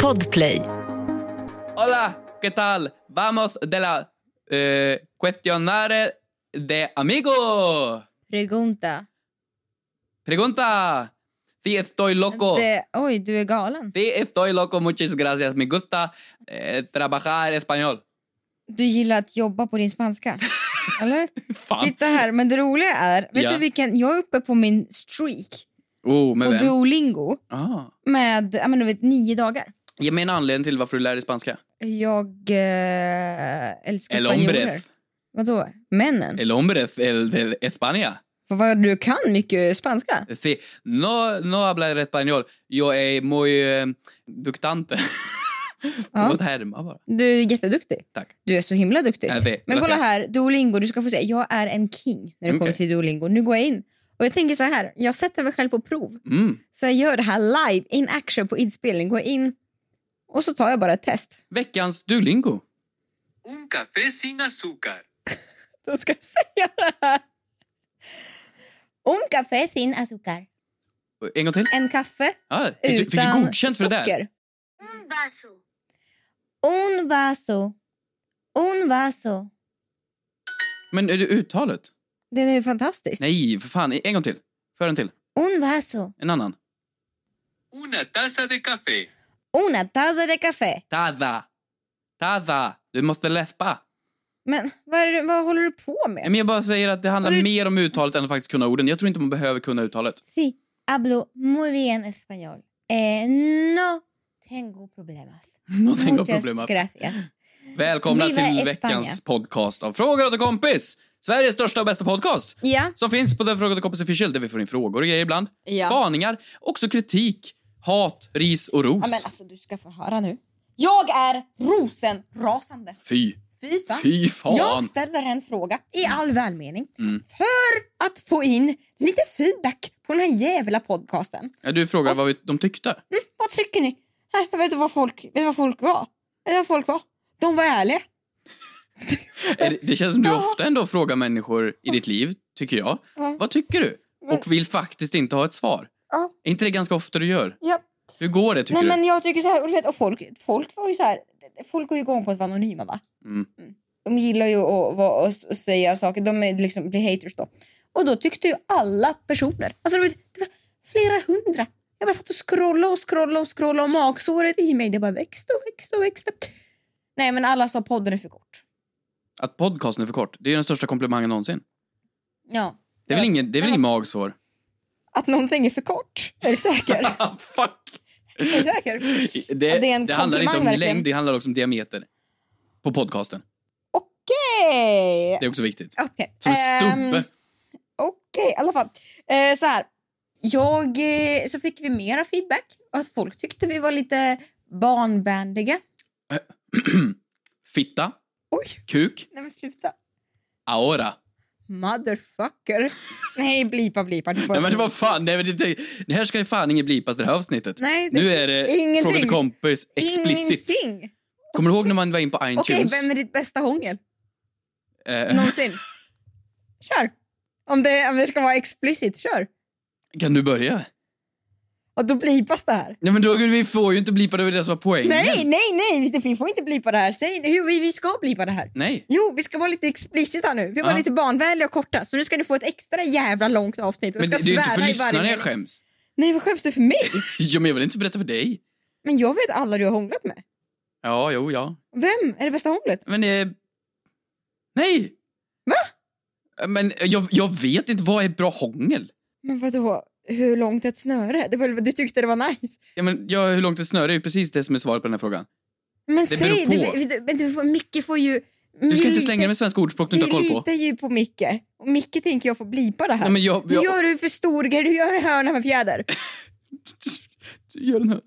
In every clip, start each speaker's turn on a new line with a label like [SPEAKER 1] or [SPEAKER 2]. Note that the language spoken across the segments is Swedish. [SPEAKER 1] Podplay.
[SPEAKER 2] Hola, ¿qué tal? Vamos de la eh, cuestionare de amigo.
[SPEAKER 3] Pregunta.
[SPEAKER 2] Pregunta. Si estoy loco.
[SPEAKER 3] Det, oj, du är galen.
[SPEAKER 2] Si estoy loco, muchas gracias. Me gusta eh, trabajar español.
[SPEAKER 3] Du gillar att jobba på din spanska. Eller?
[SPEAKER 2] Fan.
[SPEAKER 3] Titta här, men det roliga är, vet
[SPEAKER 2] Ja.
[SPEAKER 3] du vilken, jag är uppe på min streak
[SPEAKER 2] Oh, med
[SPEAKER 3] på
[SPEAKER 2] vem?
[SPEAKER 3] Duolingo
[SPEAKER 2] Ah.
[SPEAKER 3] med ja, men, du vet, nio dagar.
[SPEAKER 2] Ge mig en anledning till varför du lär dig spanska.
[SPEAKER 3] Jag eh, älskar
[SPEAKER 2] El
[SPEAKER 3] spanjorer.
[SPEAKER 2] hombres.
[SPEAKER 3] Vadå? Männen?
[SPEAKER 2] El hombres, el de España.
[SPEAKER 3] Vad du kan mycket spanska.
[SPEAKER 2] Sí, no, no hablar español. Jag är muy eh, ductante.
[SPEAKER 3] Ja.
[SPEAKER 2] Förlåt, härma bara.
[SPEAKER 3] Du är jätteduktig.
[SPEAKER 2] Tack.
[SPEAKER 3] Du är så himla duktig.
[SPEAKER 2] Jag vet,
[SPEAKER 3] Men
[SPEAKER 2] gracias.
[SPEAKER 3] kolla här, Duolingo, du ska få se. Jag är en king när det kommer
[SPEAKER 2] Okej.
[SPEAKER 3] till Duolingo. Nu går jag in. Och jag tänker så här, jag sätter mig själv på prov.
[SPEAKER 2] Mm.
[SPEAKER 3] Så jag gör det här live, in action på inspelning. Går in och så tar jag bara ett test.
[SPEAKER 2] Veckans Duolingo.
[SPEAKER 4] Un café sin azúcar.
[SPEAKER 3] Då ska jag säga det här. Un café sin azúcar.
[SPEAKER 2] En gång till.
[SPEAKER 3] En kaffe
[SPEAKER 2] Ah, fick, du,
[SPEAKER 3] utan
[SPEAKER 2] fick du godkänt för det
[SPEAKER 3] socker.
[SPEAKER 2] där?
[SPEAKER 5] Un vaso.
[SPEAKER 3] Un vaso. Un vaso.
[SPEAKER 2] Men är det uttalet?
[SPEAKER 3] Det är fantastiskt.
[SPEAKER 2] Nej, för fan. En gång till. För en till.
[SPEAKER 3] Un vaso.
[SPEAKER 2] En annan.
[SPEAKER 4] Una taza de café.
[SPEAKER 3] Una taza de café.
[SPEAKER 2] Taza. Taza. Du måste läspa.
[SPEAKER 3] Men vad, är, det- vad håller du på med?
[SPEAKER 2] Men jag bara säger att det handlar
[SPEAKER 3] Och det-
[SPEAKER 2] mer om uttalet än att faktiskt kunna orden. Jag tror inte man behöver kunna uttalet.
[SPEAKER 3] Sí, hablo muy bien español. Eh, no tengo problemas.
[SPEAKER 2] Någonting var
[SPEAKER 3] Muchas
[SPEAKER 2] problemet.
[SPEAKER 3] gracias.
[SPEAKER 2] Välkomna
[SPEAKER 3] Viva
[SPEAKER 2] till
[SPEAKER 3] España.
[SPEAKER 2] veckans podcast av Frågor åt en kompis. Sveriges största och bästa podcast.
[SPEAKER 3] Ja.
[SPEAKER 2] Som finns på den Frågor åt en kompis official där vi får in frågor och grejer ibland.
[SPEAKER 3] Ja.
[SPEAKER 2] Spaningar, också kritik, hat, ris och ros.
[SPEAKER 3] Ja, men alltså, du ska få höra nu. Jag är rosenrasande.
[SPEAKER 2] Fy.
[SPEAKER 3] Fy fan.
[SPEAKER 2] Fy fan. Mm.
[SPEAKER 3] Jag ställer en fråga i all välmening för att få in lite feedback på den här jävla podcasten.
[SPEAKER 2] Ja, du frågar vad vi, de tyckte.
[SPEAKER 3] Vad tycker ni? Äh, Jag vet du vad folk, vet du vad folk var? Vet du vad folk var? De var ärliga.
[SPEAKER 2] Är det- Det känns som du ofta ändå frågar människor i ditt liv, tycker jag.
[SPEAKER 3] Ja.
[SPEAKER 2] Vad tycker du? Och vill faktiskt inte ha ett svar.
[SPEAKER 3] Ja.
[SPEAKER 2] Är inte det ganska ofta du gör?
[SPEAKER 3] Ja.
[SPEAKER 2] Hur går det, tycker
[SPEAKER 3] Nej, men jag tycker så här, och, du vet, och folk, folk var ju så här, folk går ju igång på att vara anonyma va?
[SPEAKER 2] Mm.
[SPEAKER 3] De gillar ju att, vara- att, att säga saker, de är liksom, blir haters då. Och då tyckte ju alla personer, alltså du vet, det var flera hundra. Jag bara satt och scrollade och scrollade och scrollade och magsåret i mig det bara växte och växte och växte. Nej men alla sa podden är för kort.
[SPEAKER 2] du? Att podcasten är för kort. Det är den största komplimangen någonsin.
[SPEAKER 3] Ja.
[SPEAKER 2] Det är väl
[SPEAKER 3] Ja.
[SPEAKER 2] ingen, det är
[SPEAKER 3] Men
[SPEAKER 2] väl ingen magsår?
[SPEAKER 3] Att någonting är för kort, är du säker?
[SPEAKER 2] Fuck!
[SPEAKER 3] är du säker?
[SPEAKER 2] Det,
[SPEAKER 3] Ja, det är
[SPEAKER 2] det,
[SPEAKER 3] en
[SPEAKER 2] handlar inte om
[SPEAKER 3] komplimang, verkligen.
[SPEAKER 2] längd, det handlar också om diameter. På podcasten.
[SPEAKER 3] Okej!
[SPEAKER 2] Det är också viktigt.
[SPEAKER 3] Okej.
[SPEAKER 2] Som en
[SPEAKER 3] Ehm,
[SPEAKER 2] stubbe.
[SPEAKER 3] Okej, i alla fall. Eh, så här. Jag, eh, så fick vi mera feedback. Att folk tyckte vi var lite barnvänliga.
[SPEAKER 2] Fitta,
[SPEAKER 3] Oj,
[SPEAKER 2] kuk,
[SPEAKER 3] nej men sluta.
[SPEAKER 2] aora.
[SPEAKER 3] Motherfucker. nej, blipa, blipa. Du får
[SPEAKER 2] Nej men det var fan, nej, men det, det här ska ju fan inget blipas det här avsnittet.
[SPEAKER 3] Nej, det
[SPEAKER 2] nu är det
[SPEAKER 3] ingenting.
[SPEAKER 2] Fråga till kompis explicit.
[SPEAKER 3] Ingenting.
[SPEAKER 2] Kommer du ihåg när man var in på
[SPEAKER 3] Okej,
[SPEAKER 2] iTunes?
[SPEAKER 3] vem är ditt bästa hångel
[SPEAKER 2] Eh,
[SPEAKER 3] någonsin? kör. Om det, om det ska vara explicit, kör.
[SPEAKER 2] Kan du börja?
[SPEAKER 3] Och då blipas det här.
[SPEAKER 2] Nej men då, vi får ju inte blipa det, det var det som var poängen.
[SPEAKER 3] Nej, nej, nej, vi får inte blipa det här. Säg, jo, vi, vi ska blipa det här.
[SPEAKER 2] Nej.
[SPEAKER 3] Jo, vi ska vara lite explicita nu. Vi var
[SPEAKER 2] Ja.
[SPEAKER 3] lite barnvänliga och korta. Så nu ska ni få ett extra jävla långt avsnitt. Och
[SPEAKER 2] Men
[SPEAKER 3] ska
[SPEAKER 2] det, det är ju inte för
[SPEAKER 3] svära i varje
[SPEAKER 2] lyssnarna jag
[SPEAKER 3] mening.
[SPEAKER 2] skäms.
[SPEAKER 3] Nej, vad skäms du för mig?
[SPEAKER 2] Ja, men jag vill inte berätta för dig.
[SPEAKER 3] Men jag vet alla du har hånglat med.
[SPEAKER 2] Ja, jo, ja.
[SPEAKER 3] Vem är det bästa hånglet?
[SPEAKER 2] Men... Eh, nej! Va? Men eh, jag, jag vet inte, vad är bra hångel?
[SPEAKER 3] Men vadå, hur långt är ett snöre? Det var, du tyckte det var nice.
[SPEAKER 2] Ja, men, ja, hur långt är ett snöre? Det är ju precis det som är svaret på den här frågan.
[SPEAKER 3] Men
[SPEAKER 2] beror
[SPEAKER 3] säg,
[SPEAKER 2] på.
[SPEAKER 3] det, det, men du får, Micke får ju...
[SPEAKER 2] Du ska inte slänga dig med svenska ordspråk du inte har
[SPEAKER 3] Vi
[SPEAKER 2] koll på.
[SPEAKER 3] litar ju på Micke. Och Micke tänker jag får blipa det här.
[SPEAKER 2] Nej, men jag,
[SPEAKER 3] Nu
[SPEAKER 2] jag,
[SPEAKER 3] gör du för stor grej, du gör en hörna med fjäder.
[SPEAKER 2] gör den här.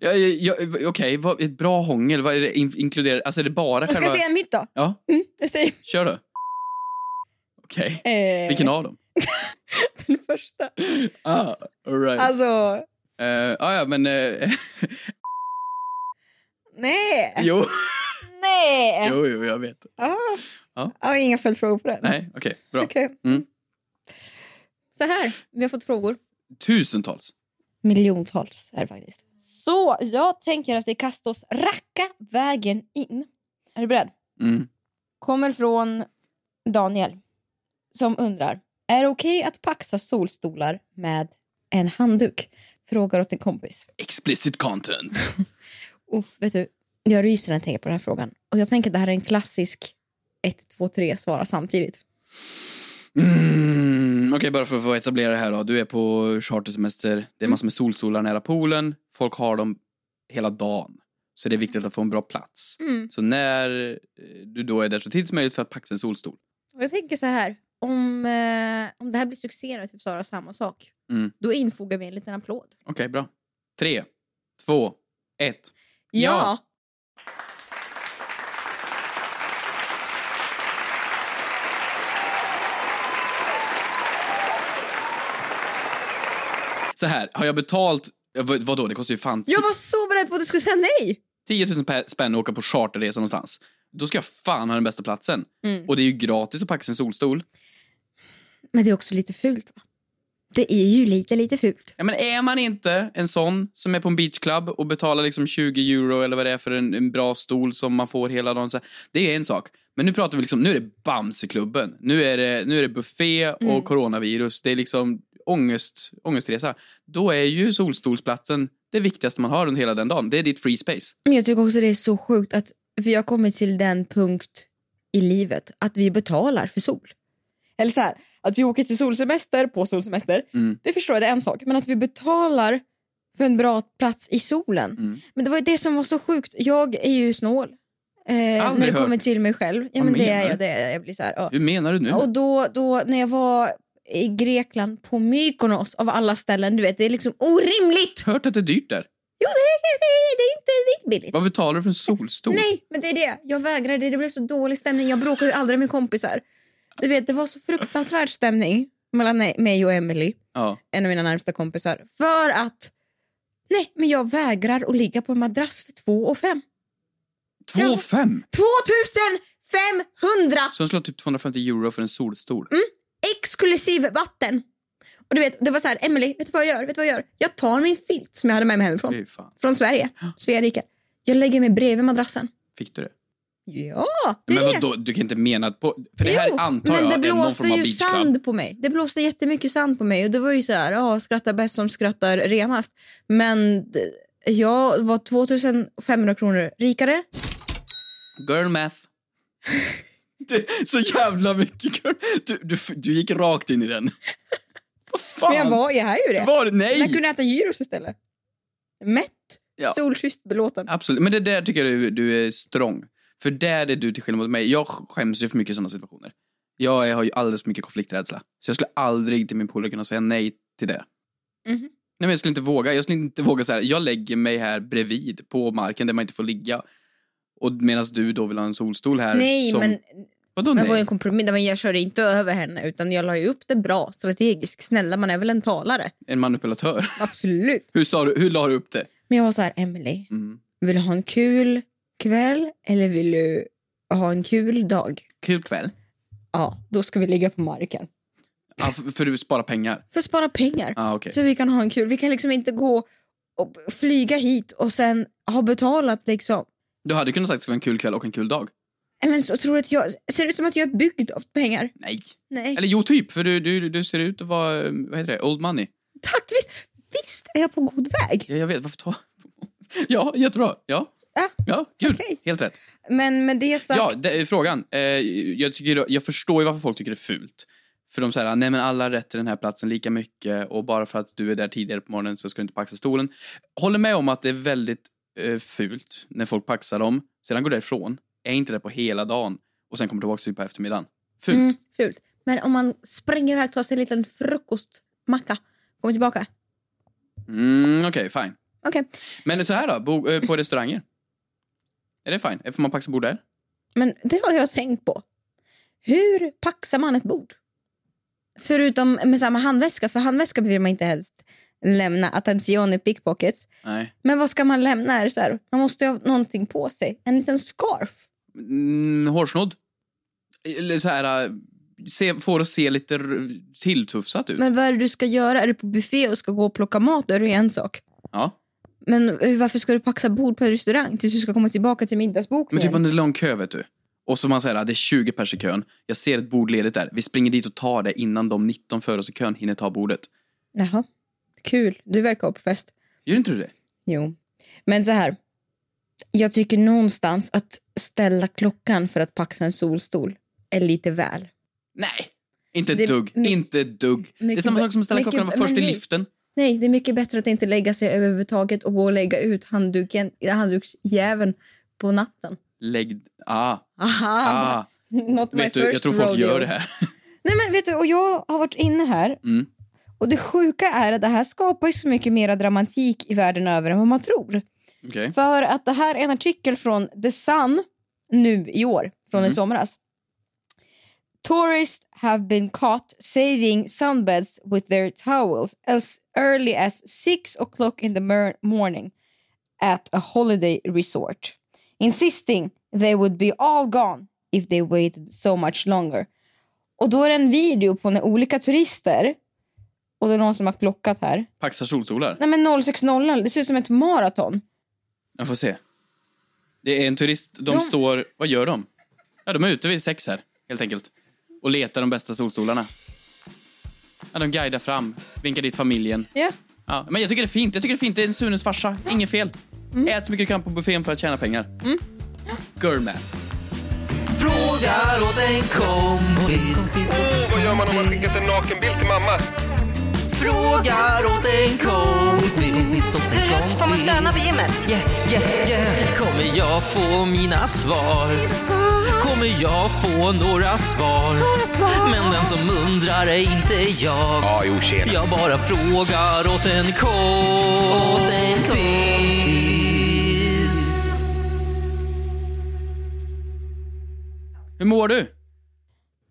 [SPEAKER 2] Ja, ja, ja, Okej, vad- ett bra hångel, vad är det in, inkluderar? Alltså är det bara
[SPEAKER 3] Jag ska
[SPEAKER 2] själva...
[SPEAKER 3] säga mitt då.
[SPEAKER 2] Ja,
[SPEAKER 3] Mm, jag säger,
[SPEAKER 2] kör då. Okej,
[SPEAKER 3] eh,
[SPEAKER 2] vilken av dem?
[SPEAKER 3] Den första.
[SPEAKER 2] Ah, alright.
[SPEAKER 3] Alltså,
[SPEAKER 2] Eh, ah, ja, men... eh,
[SPEAKER 3] nej.
[SPEAKER 2] jo,
[SPEAKER 3] Nej!
[SPEAKER 2] jo, jo, jag vet.
[SPEAKER 3] Ah.
[SPEAKER 2] Ja.
[SPEAKER 3] Ah, inga följdfrågor på den.
[SPEAKER 2] Nej, okej, bra.
[SPEAKER 3] Okej.
[SPEAKER 2] Mm.
[SPEAKER 3] Så här, vi har fått frågor.
[SPEAKER 2] Tusentals.
[SPEAKER 3] Miljontals är det faktiskt. Så jag tänker att vi kastar oss racka vägen in. Är du beredd?
[SPEAKER 2] Mm.
[SPEAKER 3] Kommer från Daniel som undrar. Är det okej att paxa solstolar med en handduk? Frågar åt en kompis.
[SPEAKER 2] Explicit content.
[SPEAKER 3] Uff, vet du, jag ryser när jag tänker på den här frågan. Och jag tänker att det här är en klassisk 1, 2, 3 svara samtidigt.
[SPEAKER 2] Mm. Okej, bara för att få etablera det här då. Du är på chartersemester, det är massor med solstolar nära poolen, folk har dem hela dagen. Så det är viktigt att få en bra plats. Så när eh, du då är där så tidigt som möjligt för att packa en solstol.
[SPEAKER 3] Och jag tänker så här, om, eh, om det här blir succé och typ Sara samma sak,
[SPEAKER 2] Mm.
[SPEAKER 3] då infogar vi en liten applåd.
[SPEAKER 2] Okej, bra. Tre, två, ett. Ja. Så här, har jag betalt... ja, vad- Vadå, det kostar ju fan
[SPEAKER 3] Jag var så beredd på att du skulle säga nej!
[SPEAKER 2] 10 000 pe- spänn och åka på charterresa någonstans. Då ska jag fan ha den bästa platsen.
[SPEAKER 3] Mm.
[SPEAKER 2] Och det är ju gratis att packa sin solstol.
[SPEAKER 3] Men det är också lite fult va? Det är ju lite, lite fult.
[SPEAKER 2] Ja, men är man inte en sån som är på en beachclub och betalar liksom 20 euro eller vad det är för en, en bra stol som man får hela dagen. Så här, det är en sak. Men nu pratar vi liksom, nu är det Bamseklubben. Nu är det, nu är det buffé och
[SPEAKER 3] Mm.
[SPEAKER 2] coronavirus. Det är liksom ångest, ångestresa. Då är ju solstolsplatsen det viktigaste man har under hela den dagen. Det är ditt free space.
[SPEAKER 3] Men jag tycker också det är så sjukt att vi har kommit till den punkt i livet att vi betalar för sol. Eller så här, att vi åker till solsemester på solsemester,
[SPEAKER 2] Mm.
[SPEAKER 3] det förstår jag, det är en sak. Men att vi betalar för en bra plats i solen.
[SPEAKER 2] Mm.
[SPEAKER 3] Men det var ju det som var så sjukt. Jag är ju snål. Eh, när det
[SPEAKER 2] hört.
[SPEAKER 3] kommer till mig själv. Ja,
[SPEAKER 2] Vad
[SPEAKER 3] men det
[SPEAKER 2] menar
[SPEAKER 3] är
[SPEAKER 2] du?
[SPEAKER 3] jag, det är jag. jag blir så här, ja.
[SPEAKER 2] Hur menar du nu?
[SPEAKER 3] Och då, då när jag var i Grekland på Mykonos av alla ställen, du vet, det är liksom orimligt.
[SPEAKER 2] Hört att det är dyrt där.
[SPEAKER 3] Jo, det är, det är, det är inte det är inte billigt.
[SPEAKER 2] Vad betalar du för en solstol?
[SPEAKER 3] Nej, men det är det. Jag vägrade. Det blev så dålig stämning. Jag bråkade ju aldrig med kompisar. Du vet, det var så fruktansvärd stämning mellan mig och Emily,
[SPEAKER 2] Ja.
[SPEAKER 3] en av mina närmsta kompisar, för att nej, men jag vägrar att ligga på en madrass för två och fem.
[SPEAKER 2] Två fem.
[SPEAKER 3] 2500
[SPEAKER 2] Så de slår typ 250 euro för en solstol.
[SPEAKER 3] exklusive vatten. Och du vet, det var så här, Emily, vet du vad jag gör? Vet du vad jag gör? Jag tar min filt som jag hade med mig hemifrån,
[SPEAKER 2] Fy fan.
[SPEAKER 3] från Sverige, Svea rike. Jag lägger mig bredvid madrassen.
[SPEAKER 2] Fick du det?
[SPEAKER 3] Ja, det är
[SPEAKER 2] Men
[SPEAKER 3] det.
[SPEAKER 2] vadå, du kan inte mena att på... För det här
[SPEAKER 3] Jo,
[SPEAKER 2] antar
[SPEAKER 3] men
[SPEAKER 2] jag
[SPEAKER 3] det
[SPEAKER 2] är någon
[SPEAKER 3] blåste
[SPEAKER 2] form av
[SPEAKER 3] ju
[SPEAKER 2] beachclub.
[SPEAKER 3] sand på mig. Det blåste jättemycket sand på mig och det var ju så här, ja, skratta bäst som skrattar renast. Men d- jag var 2500 kronor rikare.
[SPEAKER 2] Girl math. det är så jävla mycket girl. Du, du, du gick rakt in i den. Vad fan?
[SPEAKER 3] Men jag var, jag är ju det.
[SPEAKER 2] Var det?
[SPEAKER 3] Men jag
[SPEAKER 2] Nej!
[SPEAKER 3] kunde äta gyros istället. Mätt,
[SPEAKER 2] Ja.
[SPEAKER 3] solkysst, belåten.
[SPEAKER 2] Absolut. Men det där tycker jag du, du är strong. För där är du till skillnad mot mig. Jag skäms ju för mycket i sådana situationer. Jag är- har ju alldeles för mycket konflikträdsla. Så jag skulle aldrig till min polare kunna säga nej till det.
[SPEAKER 3] Mhm.
[SPEAKER 2] Nej, men jag skulle inte våga. Jag skulle inte våga så här. Jag lägger mig här bredvid på marken där man inte får ligga. Och medan du då vill ha en solstol här.
[SPEAKER 3] Nej,
[SPEAKER 2] som...
[SPEAKER 3] men
[SPEAKER 2] Vadå
[SPEAKER 3] det
[SPEAKER 2] nej?
[SPEAKER 3] var ju en kompromiss. Men jag körde inte över henne utan jag la ju upp det bra, strategiskt. Snälla, man är väl en talare?
[SPEAKER 2] En manipulatör.
[SPEAKER 3] Absolut.
[SPEAKER 2] hur, sa du, hur la du upp det?
[SPEAKER 3] Men jag var så här, Emily,
[SPEAKER 2] Mm.
[SPEAKER 3] vill du ha en kul kväll eller vill du ha en kul dag?
[SPEAKER 2] Kul kväll.
[SPEAKER 3] Ja, då ska vi ligga på marken.
[SPEAKER 2] Ah, f- för du sparar pengar.
[SPEAKER 3] För att spara pengar.
[SPEAKER 2] Ah, okej.
[SPEAKER 3] Så vi kan ha en kul. Vi kan liksom inte gå och flyga hit och sen ha betalat liksom.
[SPEAKER 2] Du hade kunnat sagt att det skulle vara en kul kväll och en kul dag.
[SPEAKER 3] Nej, Men så tror du att jag, ser det ut som att jag är byggd av pengar?
[SPEAKER 2] Nej.
[SPEAKER 3] Nej.
[SPEAKER 2] Eller jo, typ. För du, du, du ser ut att vara, eh, vad heter det, old money.
[SPEAKER 3] Tack, visst, visst är jag på god väg.
[SPEAKER 2] Ja, jag vet, varför ta... ja, jättebra. Ja.
[SPEAKER 3] Ah,
[SPEAKER 2] Ja, kul.
[SPEAKER 3] okej.
[SPEAKER 2] Helt rätt.
[SPEAKER 3] Men med det sagt,
[SPEAKER 2] Ja, det är frågan. Eh, jag, tycker, jag förstår ju varför folk tycker det är fult. För de säger nej men alla har rätt till den här platsen lika mycket och bara för att du är där tidigare på morgonen så ska du inte paxa stolen. Håller med om att det är väldigt eh, fult när folk paxar dem, sedan går därifrån, är inte där på hela dagen och sen kommer tillbaka typ på eftermiddagen. Fult.
[SPEAKER 3] mm, fult. Men om man springer iväg, tar sig en liten frukostmacka, kommer tillbaka.
[SPEAKER 2] Mm, Okej, fine.
[SPEAKER 3] Okej,
[SPEAKER 2] Men så här då, bo, eh, på restauranger. Är det fine? Får man paxa bord där?
[SPEAKER 3] men det har jag tänkt på. Hur paxar man ett bord? Förutom med samma handväska, för handväska vill man inte helst lämna. Attention i pickpockets.
[SPEAKER 2] Nej.
[SPEAKER 3] Men vad ska man lämna? Är det så här? Man måste ju ha någonting på sig. En liten scarf.
[SPEAKER 2] Mm, hårsnodd? Eller så här, eh, se, får oss se lite r- tilltufsat ut.
[SPEAKER 3] Men vad är det du ska göra? Är du på buffé och ska gå och plocka mat, då är det ju en sak.
[SPEAKER 2] ja.
[SPEAKER 3] Men eh, varför ska du paxa bord på en restaurang tills du ska komma tillbaka till
[SPEAKER 2] Men
[SPEAKER 3] middagsbokningen?
[SPEAKER 2] typ om det är lång kö, vet du. Och så man säger att det är 20 pers i kön. Jag ser ett bord ledigt där. Vi springer dit och tar det innan de 19 före oss i kön hinner ta bordet.
[SPEAKER 3] Jaha, kul. Du verkar vara på fest.
[SPEAKER 2] Gör inte du det?
[SPEAKER 3] Jo. Men så här. Jag tycker någonstans att ställa klockan för att paxa en solstol är lite väl.
[SPEAKER 2] Nej! Inte ett
[SPEAKER 3] Det-
[SPEAKER 2] dugg.
[SPEAKER 3] my-
[SPEAKER 2] inte ett dugg. det är
[SPEAKER 3] mycket
[SPEAKER 2] samma
[SPEAKER 3] be-
[SPEAKER 2] sak som att ställa
[SPEAKER 3] mycket-
[SPEAKER 2] klockan och vara först i
[SPEAKER 3] men nej.
[SPEAKER 2] liften.
[SPEAKER 3] Nej, det är mycket bättre att inte lägga sig överhuvudtaget och gå och lägga ut handduken, handduksjäveln på natten.
[SPEAKER 2] Lägg... Ah,
[SPEAKER 3] Aha!
[SPEAKER 2] ah.
[SPEAKER 3] Not my
[SPEAKER 2] Vet du,
[SPEAKER 3] first
[SPEAKER 2] jag tror folk
[SPEAKER 3] rodeo.
[SPEAKER 2] gör det här.
[SPEAKER 3] Nej men vet du, och jag har varit inne här
[SPEAKER 2] Mm.
[SPEAKER 3] och det sjuka är att det här skapar ju så mycket mera dramatik i världen över än vad man tror.
[SPEAKER 2] Okej.
[SPEAKER 3] För att det här är en artikel från The Sun nu i år, från i
[SPEAKER 2] Mm.
[SPEAKER 3] somras. Tourists have been caught saving sunbeds with their towels as early as six o'clock in the mer- morning at a holiday resort, insisting they would be all gone if they waited so much longer. Och då är det en video på när olika turister, och det är någon som har klockat här,
[SPEAKER 2] Paxar solstolar.
[SPEAKER 3] nej men 060, det ser ut som ett maraton.
[SPEAKER 2] Jag får se. Det är en turist. De,
[SPEAKER 3] De-
[SPEAKER 2] står... Vad gör de? Ja, de är ute vid sex här, helt enkelt. Och letar de bästa solstolarna. Ja, de guidar fram, vinkar dit familjen.
[SPEAKER 3] Ja.
[SPEAKER 2] Ja, men jag tycker det är fint. Jag tycker det är fint. Det är en Sunes farsa. Inget fel.
[SPEAKER 3] Mm.
[SPEAKER 2] Ät så mycket du kan på buffén för att tjäna pengar. Mm. Girl man.
[SPEAKER 1] Frågar åt en kompis.
[SPEAKER 5] Åh, vad gör man om man skickat en nakenbild till mamma?
[SPEAKER 1] Frågar åt en kompis. Åt en kompis.
[SPEAKER 6] Mm, får man stöna på gymmet?
[SPEAKER 1] Yeah, yeah, yeah. Kommer jag få mina svar? Kommer jag få några svar? Men den som undrar är inte jag.
[SPEAKER 5] Ja, jo, tjena.
[SPEAKER 1] Jag bara frågar åt en kompis.
[SPEAKER 2] Hur mår du?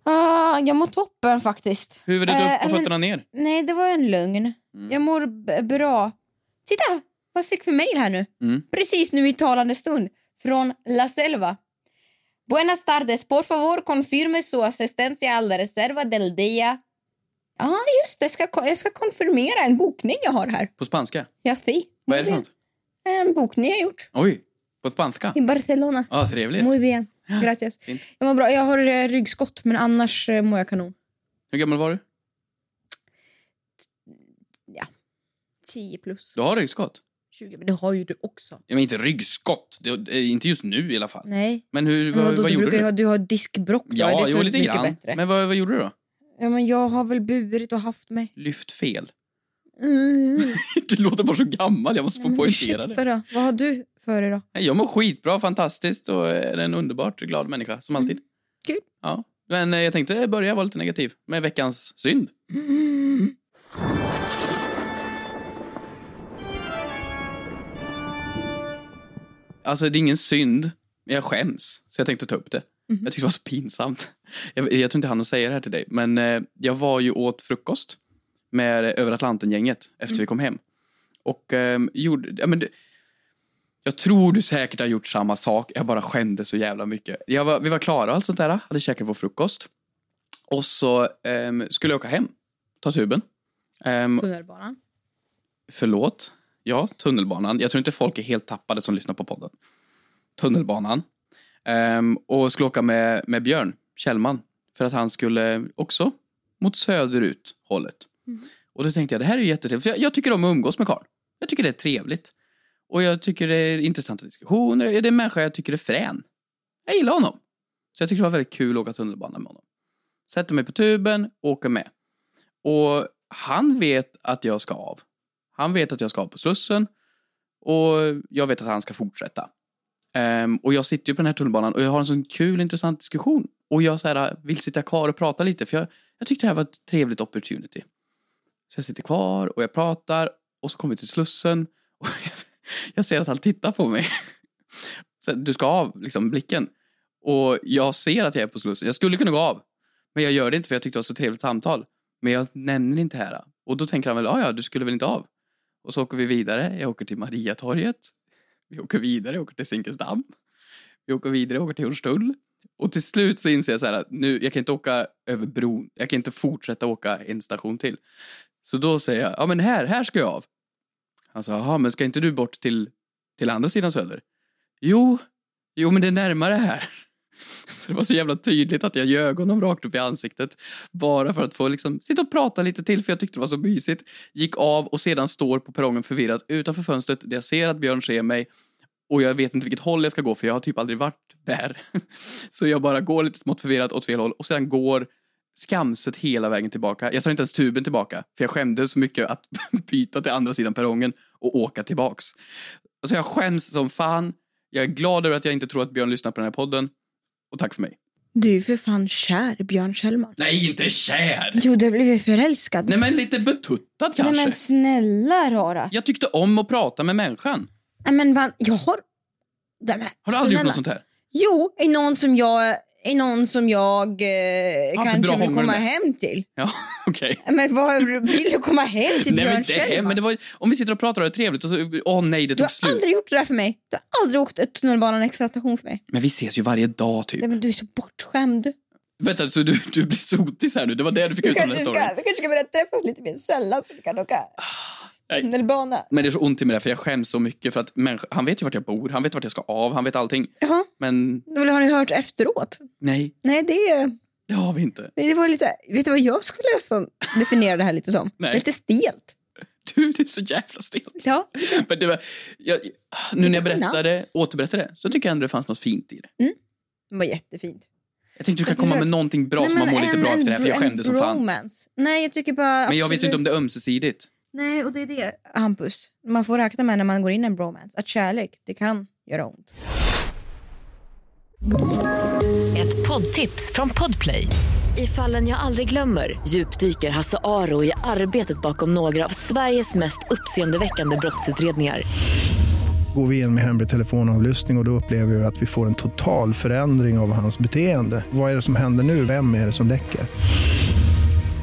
[SPEAKER 3] Ah, jag mår toppen faktiskt.
[SPEAKER 2] Huvudet
[SPEAKER 3] Eh,
[SPEAKER 2] upp och
[SPEAKER 3] men-
[SPEAKER 2] fötterna Mm. ner.
[SPEAKER 3] Nej, det var en lögn. Jag mår b- bra. Titta vad jag fick för mejl här nu.
[SPEAKER 2] Mm.
[SPEAKER 3] Precis nu i talande stund. Från La Selva. Buenas tardes, por favor confirme su asistencia al reserva del día. Ja, ah, just det. Ska, ko- jag ska konfirmera en bokning jag har här.
[SPEAKER 2] På spanska.
[SPEAKER 3] Ja, si.
[SPEAKER 2] Vad är det för något?
[SPEAKER 3] En bokning jag gjort
[SPEAKER 2] Oj, på spanska?
[SPEAKER 3] i Barcelona.
[SPEAKER 2] Ja, trevligt.
[SPEAKER 3] Muy bien. Gracias.
[SPEAKER 2] Fint.
[SPEAKER 3] Jag mår bra. Jag har eh, ryggskott, men annars eh, mår jag kanon.
[SPEAKER 2] Hur gammal var du?
[SPEAKER 3] 10 plus.
[SPEAKER 2] Du har ryggskott?
[SPEAKER 3] 20. Men det har ju du också.
[SPEAKER 2] Ja, men inte ryggskott. Det är inte just nu i alla fall.
[SPEAKER 3] Nej.
[SPEAKER 2] Men hur,
[SPEAKER 3] Men
[SPEAKER 2] vad,
[SPEAKER 3] vadå,
[SPEAKER 2] vad
[SPEAKER 3] Mm, du
[SPEAKER 2] gjorde
[SPEAKER 3] brukar ju
[SPEAKER 2] du?
[SPEAKER 3] ha, du har diskbråck då,
[SPEAKER 2] Ja,
[SPEAKER 3] är det
[SPEAKER 2] jo,
[SPEAKER 3] så
[SPEAKER 2] lite
[SPEAKER 3] mycket
[SPEAKER 2] grann.
[SPEAKER 3] bättre?
[SPEAKER 2] Men vad, vad gjorde du då?
[SPEAKER 3] Ja, men jag har väl burit och haft mig.
[SPEAKER 2] Lyft fel.
[SPEAKER 3] Mm.
[SPEAKER 2] Du låter bara så gammal. Jag måste få
[SPEAKER 3] Men
[SPEAKER 2] poängtera det.
[SPEAKER 3] ursäkta då, vad har du för dig då?
[SPEAKER 2] Nej, Jag mår skitbra, fantastiskt och är en underbart glad människa som alltid.
[SPEAKER 3] Kul.
[SPEAKER 2] Ja. Men eh, jag tänkte börja vara lite negativ med veckans synd. Alltså det är ingen synd, men jag skäms. Så jag tänkte ta upp det. Jag tyckte det var så pinsamt. Jag, jag tror inte han att säga det här till dig, men eh, jag var ju åt frukost med eh, Över Atlanten-gänget efter vi kom hem. Och ehm, gjorde... Ja, men det, jag tror du säkert har gjort samma sak. Jag bara skämdes så jävla mycket. Jag var, vi var klara och allt sånt där. Hade käkat vår frukost. Och så ehm, skulle jag åka hem. Ta tuben. Ehm,
[SPEAKER 3] Mm. Tunnelbanan.
[SPEAKER 2] Förlåt? Ja, tunnelbanan. Jag tror inte folk är helt tappade som lyssnar på podden. Tunnelbanan. Ehm, och skulle åka med, med Björn Kjellman. För att han skulle också mot söderut hållet. Och då tänkte jag, det här är ju jättetrevligt. För jag, jag tycker om att umgås med Karl. Jag tycker det är trevligt. Och jag tycker det är intressanta diskussioner. Det är en människa jag tycker är frän. Jag gillar honom. Så jag tycker det var väldigt kul att åka tunnelbana med honom. Sätter mig på tuben, åker med. Och han vet att jag ska av. Han vet att jag ska av på Slussen och jag vet att han ska fortsätta. Ehm, och jag sitter ju på den här tunnelbanan och jag har en sån kul intressant diskussion. Och jag så här, vill sitta kvar och prata lite för jag, jag tyckte det här var ett trevligt opportunity. Så jag sitter kvar och jag pratar och så kommer vi till Slussen och jag, jag ser att han tittar på mig. Så du ska av liksom blicken. Och jag ser att jag är på Slussen. Jag skulle kunna gå av. Men jag gör det inte för jag tyckte det var så trevligt samtal. Men jag nämner inte det här. Och då tänker han väl, "Ah, ja ja, du skulle väl inte av? Och så åker vi vidare. Jag åker till Mariatorget. Vi åker vidare, jag åker till Zinkensdamm. Vi åker vidare, jag åker till Hornstull. Och till slut så inser jag så här att nu, jag kan inte åka över bron. Jag kan inte fortsätta åka en station till. Så då säger jag, ja men här, här ska jag av. Han sa, jaha men ska inte du bort till, till andra sidan söder? Jo, jo men det är närmare här. Så det var så jävla tydligt att jag ljög honom rakt upp i ansiktet. Bara för att få liksom sitta och prata lite till för jag tyckte det var så mysigt. Gick av och sedan står på perrongen förvirrat utanför fönstret där jag ser att Björn ser mig. Och jag vet inte vilket håll jag ska gå för jag har typ aldrig varit där. Så jag bara går lite smått förvirrat åt fel håll och sedan går skamset hela vägen tillbaka. Jag tar inte ens tuben tillbaka för jag skämdes så mycket att byta till andra sidan perrongen och åka tillbaks. Alltså jag skäms som fan. Jag är glad över att jag inte tror att Björn lyssnar på den här podden. Och tack för mig.
[SPEAKER 3] Du är ju för fan kär i Björn Kjellman.
[SPEAKER 2] Nej, inte kär!
[SPEAKER 3] Jo, du blev ju förälskad.
[SPEAKER 2] Nej, men lite betuttad kanske.
[SPEAKER 3] Nej men snälla rara.
[SPEAKER 2] Jag tyckte om att prata med människan.
[SPEAKER 3] Nej men man, jag har... Nej, men,
[SPEAKER 2] Har du aldrig gjort
[SPEAKER 3] snälla.
[SPEAKER 2] något sånt här?
[SPEAKER 3] Jo, är någon som jag, är någon som jag eh,
[SPEAKER 2] Haft ett
[SPEAKER 3] kanske
[SPEAKER 2] bra
[SPEAKER 3] vill
[SPEAKER 2] hångel
[SPEAKER 3] komma
[SPEAKER 2] med.
[SPEAKER 3] hem till.
[SPEAKER 2] Ja, okej.
[SPEAKER 3] Nej, Men vad vill du komma hem till
[SPEAKER 2] Nej, men
[SPEAKER 3] Björn
[SPEAKER 2] inte hem,
[SPEAKER 3] Kjellman?
[SPEAKER 2] men det var, om vi sitter och pratar och det är trevligt och så, åh nej, det
[SPEAKER 3] Du
[SPEAKER 2] tog
[SPEAKER 3] har
[SPEAKER 2] slut.
[SPEAKER 3] aldrig gjort det där för mig. Du har aldrig åkt ett tunnelbanan extra station för mig.
[SPEAKER 2] Men vi ses ju varje dag typ.
[SPEAKER 3] Nej, men du är så bortskämd.
[SPEAKER 2] Vänta, så du, du blir sotis här nu? Det var det du fick
[SPEAKER 3] Du
[SPEAKER 2] ut av den här
[SPEAKER 3] kanske,
[SPEAKER 2] storyn?
[SPEAKER 3] ska, vi kanske ska börja träffas lite mer sällan så vi kan åka
[SPEAKER 2] nej.
[SPEAKER 3] tunnelbana.
[SPEAKER 2] Men det är så ont i mig där, för jag skäms så mycket för att människa, han vet ju vart jag bor, han vet vart jag ska av, han vet allting.
[SPEAKER 3] Jaha,
[SPEAKER 2] Men
[SPEAKER 3] det har ni hört efteråt.
[SPEAKER 2] nej,
[SPEAKER 3] Nej, det,
[SPEAKER 2] det har vi inte.
[SPEAKER 3] det var lite... Vet du vad jag skulle nästan definiera det här lite som?
[SPEAKER 2] Nej.
[SPEAKER 3] Lite stelt.
[SPEAKER 2] Du, det är så jävla stelt.
[SPEAKER 3] Ja.
[SPEAKER 2] Men det var, jag, nu när jag
[SPEAKER 3] Lite genant.
[SPEAKER 2] berättade, återberättade det, så tycker jag ändå det fanns något fint i det.
[SPEAKER 3] Det var jättefint.
[SPEAKER 2] Jag tänkte du kan
[SPEAKER 3] Men
[SPEAKER 2] komma
[SPEAKER 3] du-
[SPEAKER 2] med någonting bra
[SPEAKER 3] Nej,
[SPEAKER 2] som man
[SPEAKER 3] men
[SPEAKER 2] mår lite
[SPEAKER 3] en-
[SPEAKER 2] bra efter det här,
[SPEAKER 3] en
[SPEAKER 2] för jag
[SPEAKER 3] bro-
[SPEAKER 2] skämdes
[SPEAKER 3] en
[SPEAKER 2] som fan.
[SPEAKER 3] bromance. Nej, jag tycker bara...
[SPEAKER 2] Men jag vet ju inte om det är ömsesidigt.
[SPEAKER 3] Nej, och det är det, Hampus. Man får räkna med när man går in i en bromance att kärlek, det kan göra ont.
[SPEAKER 6] Ett poddtips från Podplay. I fallen jag aldrig glömmer djupdyker Hasse Aro i arbetet bakom några av Sveriges mest uppseendeväckande brottsutredningar.
[SPEAKER 7] Går vi in med hemlig telefonavlyssning och, och då upplever vi att vi får en total förändring av hans beteende. Vad är det som händer nu? Vem är det som läcker?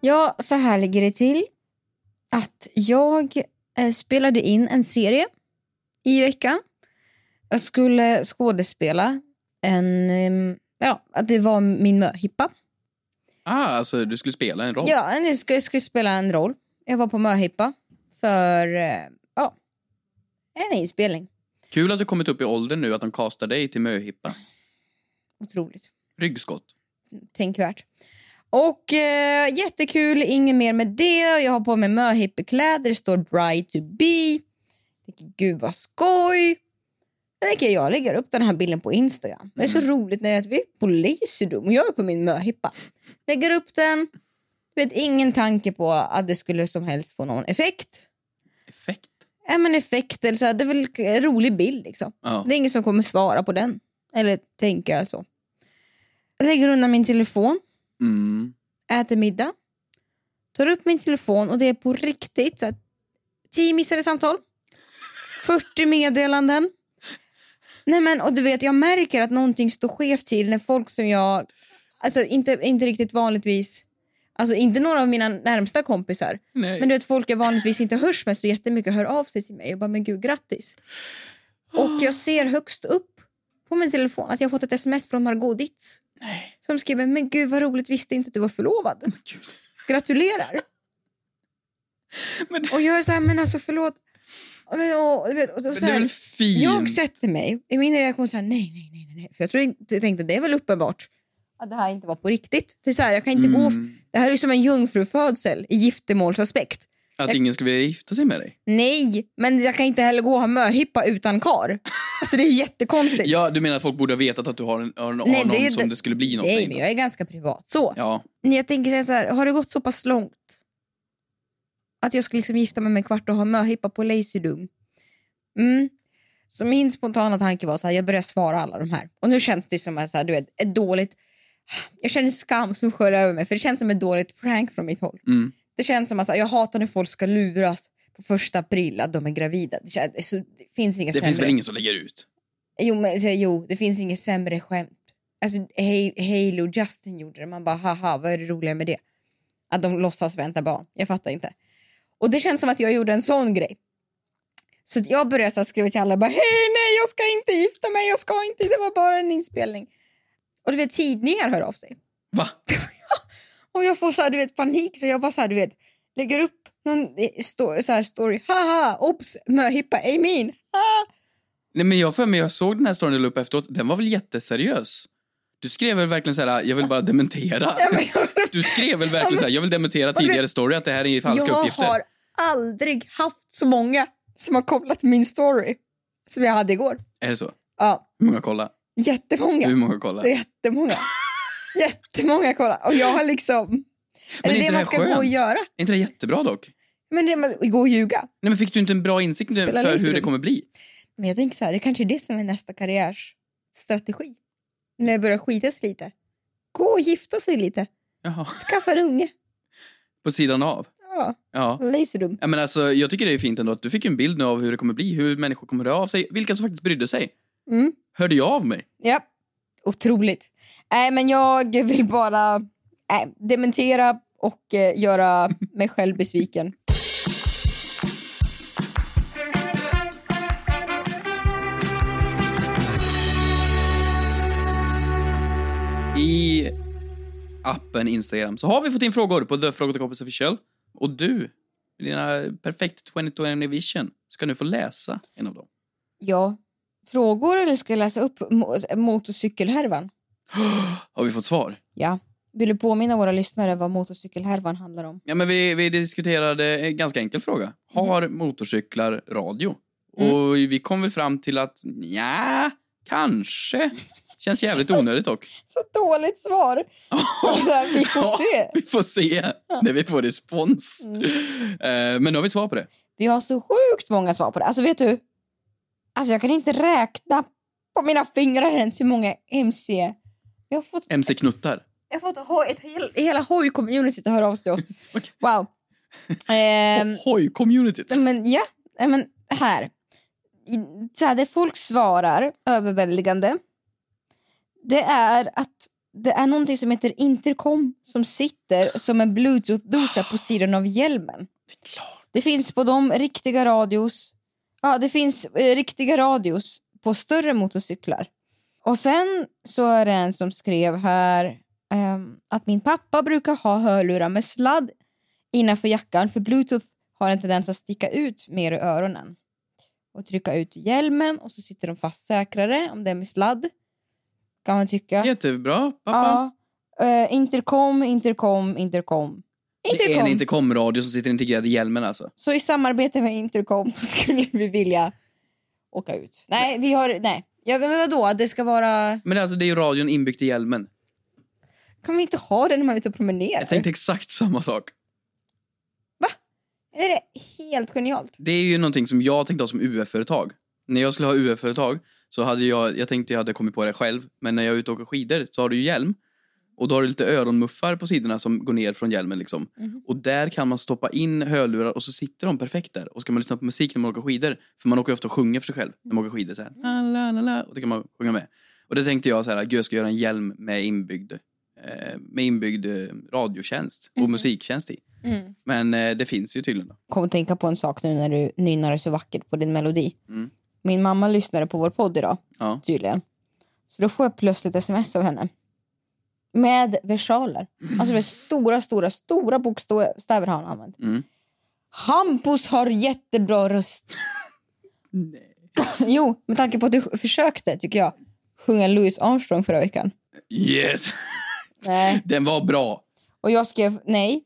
[SPEAKER 3] Ja, så här ligger det till. Att jag eh, spelade in en serie i veckan. Jag skulle skådespela en... eh, Ja, att det var min möhippa.
[SPEAKER 2] Ah, alltså du skulle spela en roll?
[SPEAKER 3] Ja, jag skulle, jag skulle spela en roll. Jag var på möhippa för eh, ja, en inspelning.
[SPEAKER 2] Kul att du kommit upp i åldern nu, att de kastar dig till möhippa.
[SPEAKER 3] Otroligt.
[SPEAKER 2] Ryggskott.
[SPEAKER 3] tänkvärt. Och eh, jättekul, inget mer med det. Jag har på mig möhippekläder, det står Bride to be. Jag tänker, Gud vad skoj. Jag tänker jag lägger upp den här bilden på Instagram. Det är så roligt när jag vet, vi är på Laserdome och jag är på min möhippa. Lägger upp den. Jag vet ingen tanke på att det skulle som helst få någon effekt.
[SPEAKER 2] Effekt.
[SPEAKER 3] Ja, men effekt eller så här, det är väl en rolig bild liksom.
[SPEAKER 2] Ja.
[SPEAKER 3] Det är ingen som kommer svara på den. Eller tänka så. Jag lägger undan min telefon
[SPEAKER 2] Mm.
[SPEAKER 3] äter middag, tar upp min telefon och det är på riktigt så att 10 missade samtal, 40 meddelanden. Nej men, och du vet, jag märker att någonting står skevt till när folk som jag, alltså inte, inte riktigt vanligtvis, alltså inte några av mina närmsta kompisar,
[SPEAKER 2] Nej.
[SPEAKER 3] men du vet folk jag vanligtvis inte hörs med så jättemycket hör av sig till mig och bara men gud grattis. Och jag ser högst upp på min telefon att jag har fått ett sms från Margot Ditz.
[SPEAKER 2] Nej.
[SPEAKER 3] Som skriver, men gud vad roligt, visste inte att du var förlovad.
[SPEAKER 2] Gud.
[SPEAKER 3] Gratulerar.
[SPEAKER 2] Men-
[SPEAKER 3] Och jag är så här, men alltså förlåt. Och, och, och, och, och
[SPEAKER 2] Men
[SPEAKER 3] så
[SPEAKER 2] det är
[SPEAKER 3] här,
[SPEAKER 2] väl fint?
[SPEAKER 3] jag sätter mig, i min reaktion så här, nej, nej, nej, nej, nej. För jag, tror, jag tänkte, det är väl uppenbart att det här inte var på riktigt. Det är så här, jag kan inte gå,
[SPEAKER 2] Mm.
[SPEAKER 3] det här är ju som en jungfrufödsel i giftermålsaspekt.
[SPEAKER 2] Att ingen skulle vilja gifta sig med dig?
[SPEAKER 3] Nej, men jag kan inte heller gå och ha möhippa utan kar. Alltså det är jättekonstigt.
[SPEAKER 2] Ja, du menar att folk borde ha vetat att du har, en, har, en,
[SPEAKER 3] Nej,
[SPEAKER 2] har någon
[SPEAKER 3] det är-
[SPEAKER 2] som det skulle bli något
[SPEAKER 3] nej,
[SPEAKER 2] med?
[SPEAKER 3] men jag är ganska privat så.
[SPEAKER 2] Ja.
[SPEAKER 3] Men Jag tänker så här, har det gått så pass långt att jag ska liksom gifta mig med en kvart och ha möhippa på Lazydum? Mm. Så min spontana tanke var så här, jag börjar svara alla de här. Och nu känns det som att så här, du vet, ett dåligt Jag känner skam som sköljer över mig för det känns som ett dåligt prank från mitt håll.
[SPEAKER 2] Mm.
[SPEAKER 3] Det känns som att jag hatar när folk ska luras på första april att de är gravida. Det, känns, det, så, det finns inget
[SPEAKER 2] Det
[SPEAKER 3] sämre.
[SPEAKER 2] finns väl ingen som lägger ut?
[SPEAKER 3] Jo, men, så, jo, det finns inget sämre skämt. Alltså, Ha- Halo och Justin gjorde det. Man bara, haha, vad är det roliga med det? Att de låtsas vänta barn. Jag fattar inte. Och det känns som att jag gjorde en sån grej. Så att jag började så här skriva till alla, bara, hej, nej, jag ska inte gifta mig, jag ska inte, det var bara en inspelning. Och du vet, tidningar hör av sig.
[SPEAKER 2] Va?
[SPEAKER 3] Och jag får så här, du vet, panik så jag bara så här, du vet, lägger upp någon eh, sto- så här story. Haha, obs, möhippa, amen. Ah.
[SPEAKER 2] Nej, men jag för mig, jag såg den här storyn du la upp efteråt. Den var väl jätteseriös? Du skrev väl verkligen så här, jag vill bara dementera.
[SPEAKER 3] Ja, men jag-
[SPEAKER 2] Du skrev väl verkligen så här, jag vill
[SPEAKER 3] du
[SPEAKER 2] dementera
[SPEAKER 3] vet-
[SPEAKER 2] tidigare story att det här är falska
[SPEAKER 3] jag
[SPEAKER 2] uppgifter.
[SPEAKER 3] har aldrig haft så många som har kollat min story som jag hade igår.
[SPEAKER 2] Är det så?
[SPEAKER 3] Ja,
[SPEAKER 2] Hur många kollar?
[SPEAKER 3] jättemånga.
[SPEAKER 2] Hur många kollar?
[SPEAKER 3] Det är jättemånga. jättemånga kollar. Och jag har liksom...
[SPEAKER 2] Men
[SPEAKER 3] är det
[SPEAKER 2] är inte
[SPEAKER 3] det
[SPEAKER 2] det
[SPEAKER 3] man
[SPEAKER 2] här
[SPEAKER 3] ska
[SPEAKER 2] skönt?
[SPEAKER 3] gå och göra?
[SPEAKER 2] Är inte det jättebra dock?
[SPEAKER 3] Men det är man gå och ljuga.
[SPEAKER 2] Nej, men fick du inte en bra insikt nu
[SPEAKER 3] Spelar
[SPEAKER 2] för
[SPEAKER 3] Lisa
[SPEAKER 2] hur det
[SPEAKER 3] roll?
[SPEAKER 2] kommer bli?
[SPEAKER 3] Men jag tänker så här, det kanske är det som är nästa karriärsstrategi. När det börjar skitas lite. Gå och gifta sig lite.
[SPEAKER 2] Jaha.
[SPEAKER 3] Skaffa en unge.
[SPEAKER 2] På sidan av?
[SPEAKER 3] Ja,
[SPEAKER 2] Ja.
[SPEAKER 3] laserrum.
[SPEAKER 2] Ja, men alltså, jag tycker det är fint ändå att du fick en bild nu av hur det kommer bli, hur människor kommer höra av sig, vilka som faktiskt brydde sig.
[SPEAKER 3] Mm.
[SPEAKER 2] Hörde jag av mig?
[SPEAKER 3] Ja, otroligt. Nej, men jag vill bara äh, dementera och eh, göra mig själv besviken.
[SPEAKER 2] I appen Instagram så har vi fått in frågor på The Fråga till Kompis Official. Och du, med dina perfekt 2020 vision, ska nu få läsa en av dem.
[SPEAKER 3] Ja. Frågor eller ska jag läsa upp mo- motorcykelhärvan?
[SPEAKER 2] Har vi fått svar?
[SPEAKER 3] Ja. Vill du påminna våra lyssnare vad motorcykelhärvan handlar om?
[SPEAKER 2] Ja, men vi, vi diskuterade en ganska enkel fråga. Har motorcyklar radio?
[SPEAKER 3] Mm.
[SPEAKER 2] Och vi kom väl fram till att ja, kanske. Känns jävligt onödigt dock.
[SPEAKER 3] Så dåligt svar! Så här, vi får
[SPEAKER 2] Ja,
[SPEAKER 3] se.
[SPEAKER 2] Vi får se när vi får respons.
[SPEAKER 3] Mm.
[SPEAKER 2] Eh, Men nu har vi svar på det.
[SPEAKER 3] Vi har så sjukt många svar på det. Alltså vet du? Alltså jag kan inte räkna på mina fingrar ens hur många MC... Jag har fått
[SPEAKER 2] MC-knuttar.
[SPEAKER 3] Jag har fått ho- ett hel, hela hoj-communityt att höra av sig till oss. Wow. Ehm,
[SPEAKER 2] Hoj-communityt.
[SPEAKER 3] men ja, nej, men här. I- Så här. Det folk svarar överväldigande det är att det är någonting som heter intercom som sitter som en bluetooth-dosa på sidan av hjälmen. Det finns på de riktiga radios. Ja, det finns eh, riktiga radios på större motorcyklar. Och sen så är det en som skrev här ehm, att min pappa brukar ha hörlurar med sladd innanför jackan för bluetooth har en tendens att sticka ut mer i öronen och trycka ut i hjälmen och så sitter de fast säkrare om det är med sladd kan man tycka.
[SPEAKER 2] Jättebra, pappa.
[SPEAKER 3] Ja. Eh, intercom, intercom, intercom.
[SPEAKER 2] Det är
[SPEAKER 3] Intercom.
[SPEAKER 2] en intercomradio som sitter integrerad i hjälmen alltså.
[SPEAKER 3] Så i samarbete med Intercom skulle vi vilja åka ut. Nej, vi har... Nej. Ja, men vadå? Det ska vara...
[SPEAKER 2] Men alltså, det är ju radion inbyggd i hjälmen.
[SPEAKER 3] Kan vi inte ha det när man är ute och promenerar?
[SPEAKER 2] Jag tänkte exakt samma sak.
[SPEAKER 3] Är det helt genialt?
[SPEAKER 2] Det är ju någonting som jag tänkte ha som UF-företag. När jag skulle ha UF-företag så hade jag, jag tänkte jag hade kommit på det själv, men när jag är ute och åker skidor så har du ju hjälm. Och då har du lite öronmuffar på sidorna som går ner från hjälmen liksom. Och där kan man stoppa in hörlurar och så sitter de perfekt där. Och ska man lyssna på musik när man åker skidor, för man åker ju ofta och sjunger för sig själv när man åker skidor så här. La, la, la, la, och det kan man sjunga med. Och det tänkte jag så här, gud jag ska göra en hjälm med inbyggd, eh, med inbyggd eh, radiotjänst och musiktjänst i.
[SPEAKER 3] Mm.
[SPEAKER 2] Men eh, det finns ju tydligen. Då.
[SPEAKER 3] Kom att tänka på en sak nu när du nynnar så vackert på din melodi.
[SPEAKER 2] Mm.
[SPEAKER 3] Min mamma lyssnade på vår podd idag,
[SPEAKER 2] Ja.
[SPEAKER 3] tydligen. Så då får jag plötsligt sms av henne. Med versaler. Alltså med stora, stora, stora bokstäver har han använt.
[SPEAKER 2] Mm.
[SPEAKER 3] Hampus har jättebra röst. Jo, med tanke på att du försökte, tycker jag, sjunga Louis Armstrong förra veckan.
[SPEAKER 2] Yes!
[SPEAKER 3] Nej.
[SPEAKER 2] Den var bra.
[SPEAKER 3] Och jag skrev nej,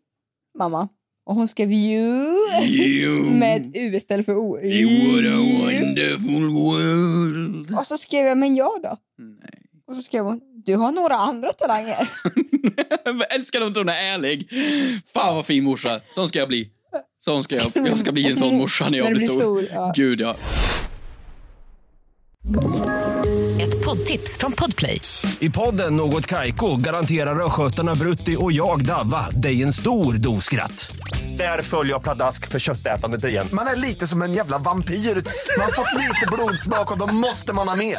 [SPEAKER 3] mamma. Och hon skrev you
[SPEAKER 2] You,
[SPEAKER 3] med ett u istället för o.
[SPEAKER 2] you what a wonderful world.
[SPEAKER 3] Och så skrev jag, men jag då?
[SPEAKER 2] Nej.
[SPEAKER 3] Och så skrev hon, du har några andra talanger.
[SPEAKER 2] Jag älskar om hon är ärlig. Fan vad fin morsa. Sån ska jag bli. Sån ska jag, jag ska bli en sån morsa när jag
[SPEAKER 3] När du
[SPEAKER 2] blir
[SPEAKER 3] blir
[SPEAKER 2] stor.
[SPEAKER 3] stor, ja.
[SPEAKER 2] Gud ja.
[SPEAKER 6] Ett poddtips från Podplay.
[SPEAKER 8] I podden Något Kaiko garanterar östgötarna Brutti och jag, Davva, dig en stor dos skratt. Där följer jag pladask för köttätandet igen.
[SPEAKER 9] Man är lite som en jävla vampyr. Man har fått lite blodsmak och då måste man ha mer.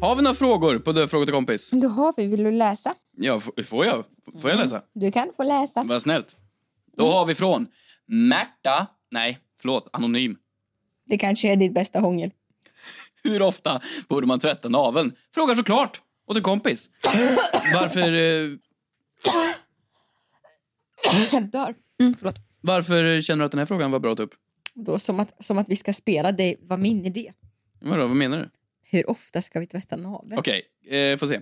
[SPEAKER 2] Har vi några frågor på Dö frågor till kompis?
[SPEAKER 3] Då har vi. Vill du läsa?
[SPEAKER 2] Ja, f- får jag? F- Får jag läsa?
[SPEAKER 3] Du kan få läsa.
[SPEAKER 2] Vad snällt. Då har vi från Märta. Nej, förlåt. Anonym.
[SPEAKER 3] Det kanske är ditt bästa hångel.
[SPEAKER 2] Hur ofta borde man tvätta naveln? Frågar såklart åt en kompis. Varför, eh,
[SPEAKER 3] Jag dör. Förlåt.
[SPEAKER 2] varför känner du att den här frågan var bra att ta upp?
[SPEAKER 3] Då, som, att, som att vi ska spela dig var min idé.
[SPEAKER 2] Vadå, vad menar du?
[SPEAKER 3] Hur ofta ska vi tvätta naveln?
[SPEAKER 2] Okej, eh, får se.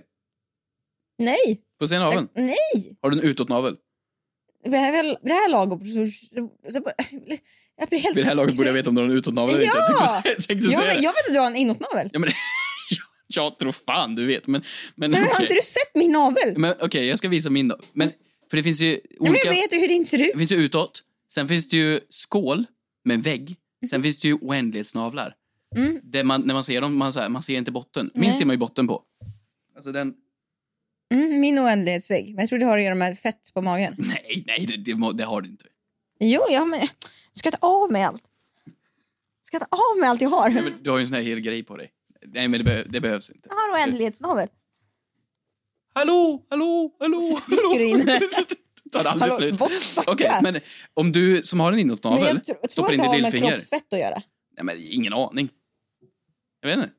[SPEAKER 3] Nej!
[SPEAKER 2] Får se naveln.
[SPEAKER 3] Nej!
[SPEAKER 2] Har du en utåtnavel?
[SPEAKER 3] Det här, är väl- det här lagom... Jag blir helt...
[SPEAKER 2] Vid det här laget borde jag veta om du har en utåtnavel eller inte. Jag
[SPEAKER 3] Ja!
[SPEAKER 2] tänkte, tänkte
[SPEAKER 3] Jag,
[SPEAKER 2] säga
[SPEAKER 3] vet-
[SPEAKER 2] det.
[SPEAKER 3] jag vet att du har en inåtnavel.
[SPEAKER 2] Ja, men, jag tror fan du vet, men... Men
[SPEAKER 3] Nej, men Har
[SPEAKER 2] okej.
[SPEAKER 3] inte du sett min navel?
[SPEAKER 2] Men okej, jag ska visa min då. Men, för det finns ju
[SPEAKER 3] Nej, men
[SPEAKER 2] olika...
[SPEAKER 3] jag vet ju hur din ser ut.
[SPEAKER 2] Det finns ju utåt, sen finns det ju skål med en vägg,
[SPEAKER 3] Mhm.
[SPEAKER 2] sen finns det ju oändlighetsnavlar. Där man, när man ser dem, man, så här, man ser inte botten. Min
[SPEAKER 3] Mm. Nej.
[SPEAKER 2] ser man ju botten på. Alltså den...
[SPEAKER 3] Mm, min oändlighetsvägg. Men jag tror det har att göra med fett på magen.
[SPEAKER 2] Nej, nej, det, det, må- det har du inte.
[SPEAKER 3] Jo, ja, men... Ska jag ta av mig allt? Ska jag ta av mig allt jag har?
[SPEAKER 2] Nej, men du har ju en sån här hel grej på dig. Nej, men det, be- det behövs inte.
[SPEAKER 3] Jag har oändlighetsnavel.
[SPEAKER 2] Hallå, hallå, hallå, hallå!
[SPEAKER 3] du in?
[SPEAKER 2] Tar aldrig
[SPEAKER 3] Hallå,
[SPEAKER 2] slut.
[SPEAKER 3] what fuck
[SPEAKER 2] Okej,
[SPEAKER 3] är?
[SPEAKER 2] men om du som har en
[SPEAKER 3] Men
[SPEAKER 2] inåtnavel
[SPEAKER 3] jag tr- tror
[SPEAKER 2] stoppar
[SPEAKER 3] att
[SPEAKER 2] in
[SPEAKER 3] det
[SPEAKER 2] ditt
[SPEAKER 3] har med
[SPEAKER 2] lillfinger.
[SPEAKER 3] kroppsfett att göra.
[SPEAKER 2] Nej, men ingen aning. Jag vet inte.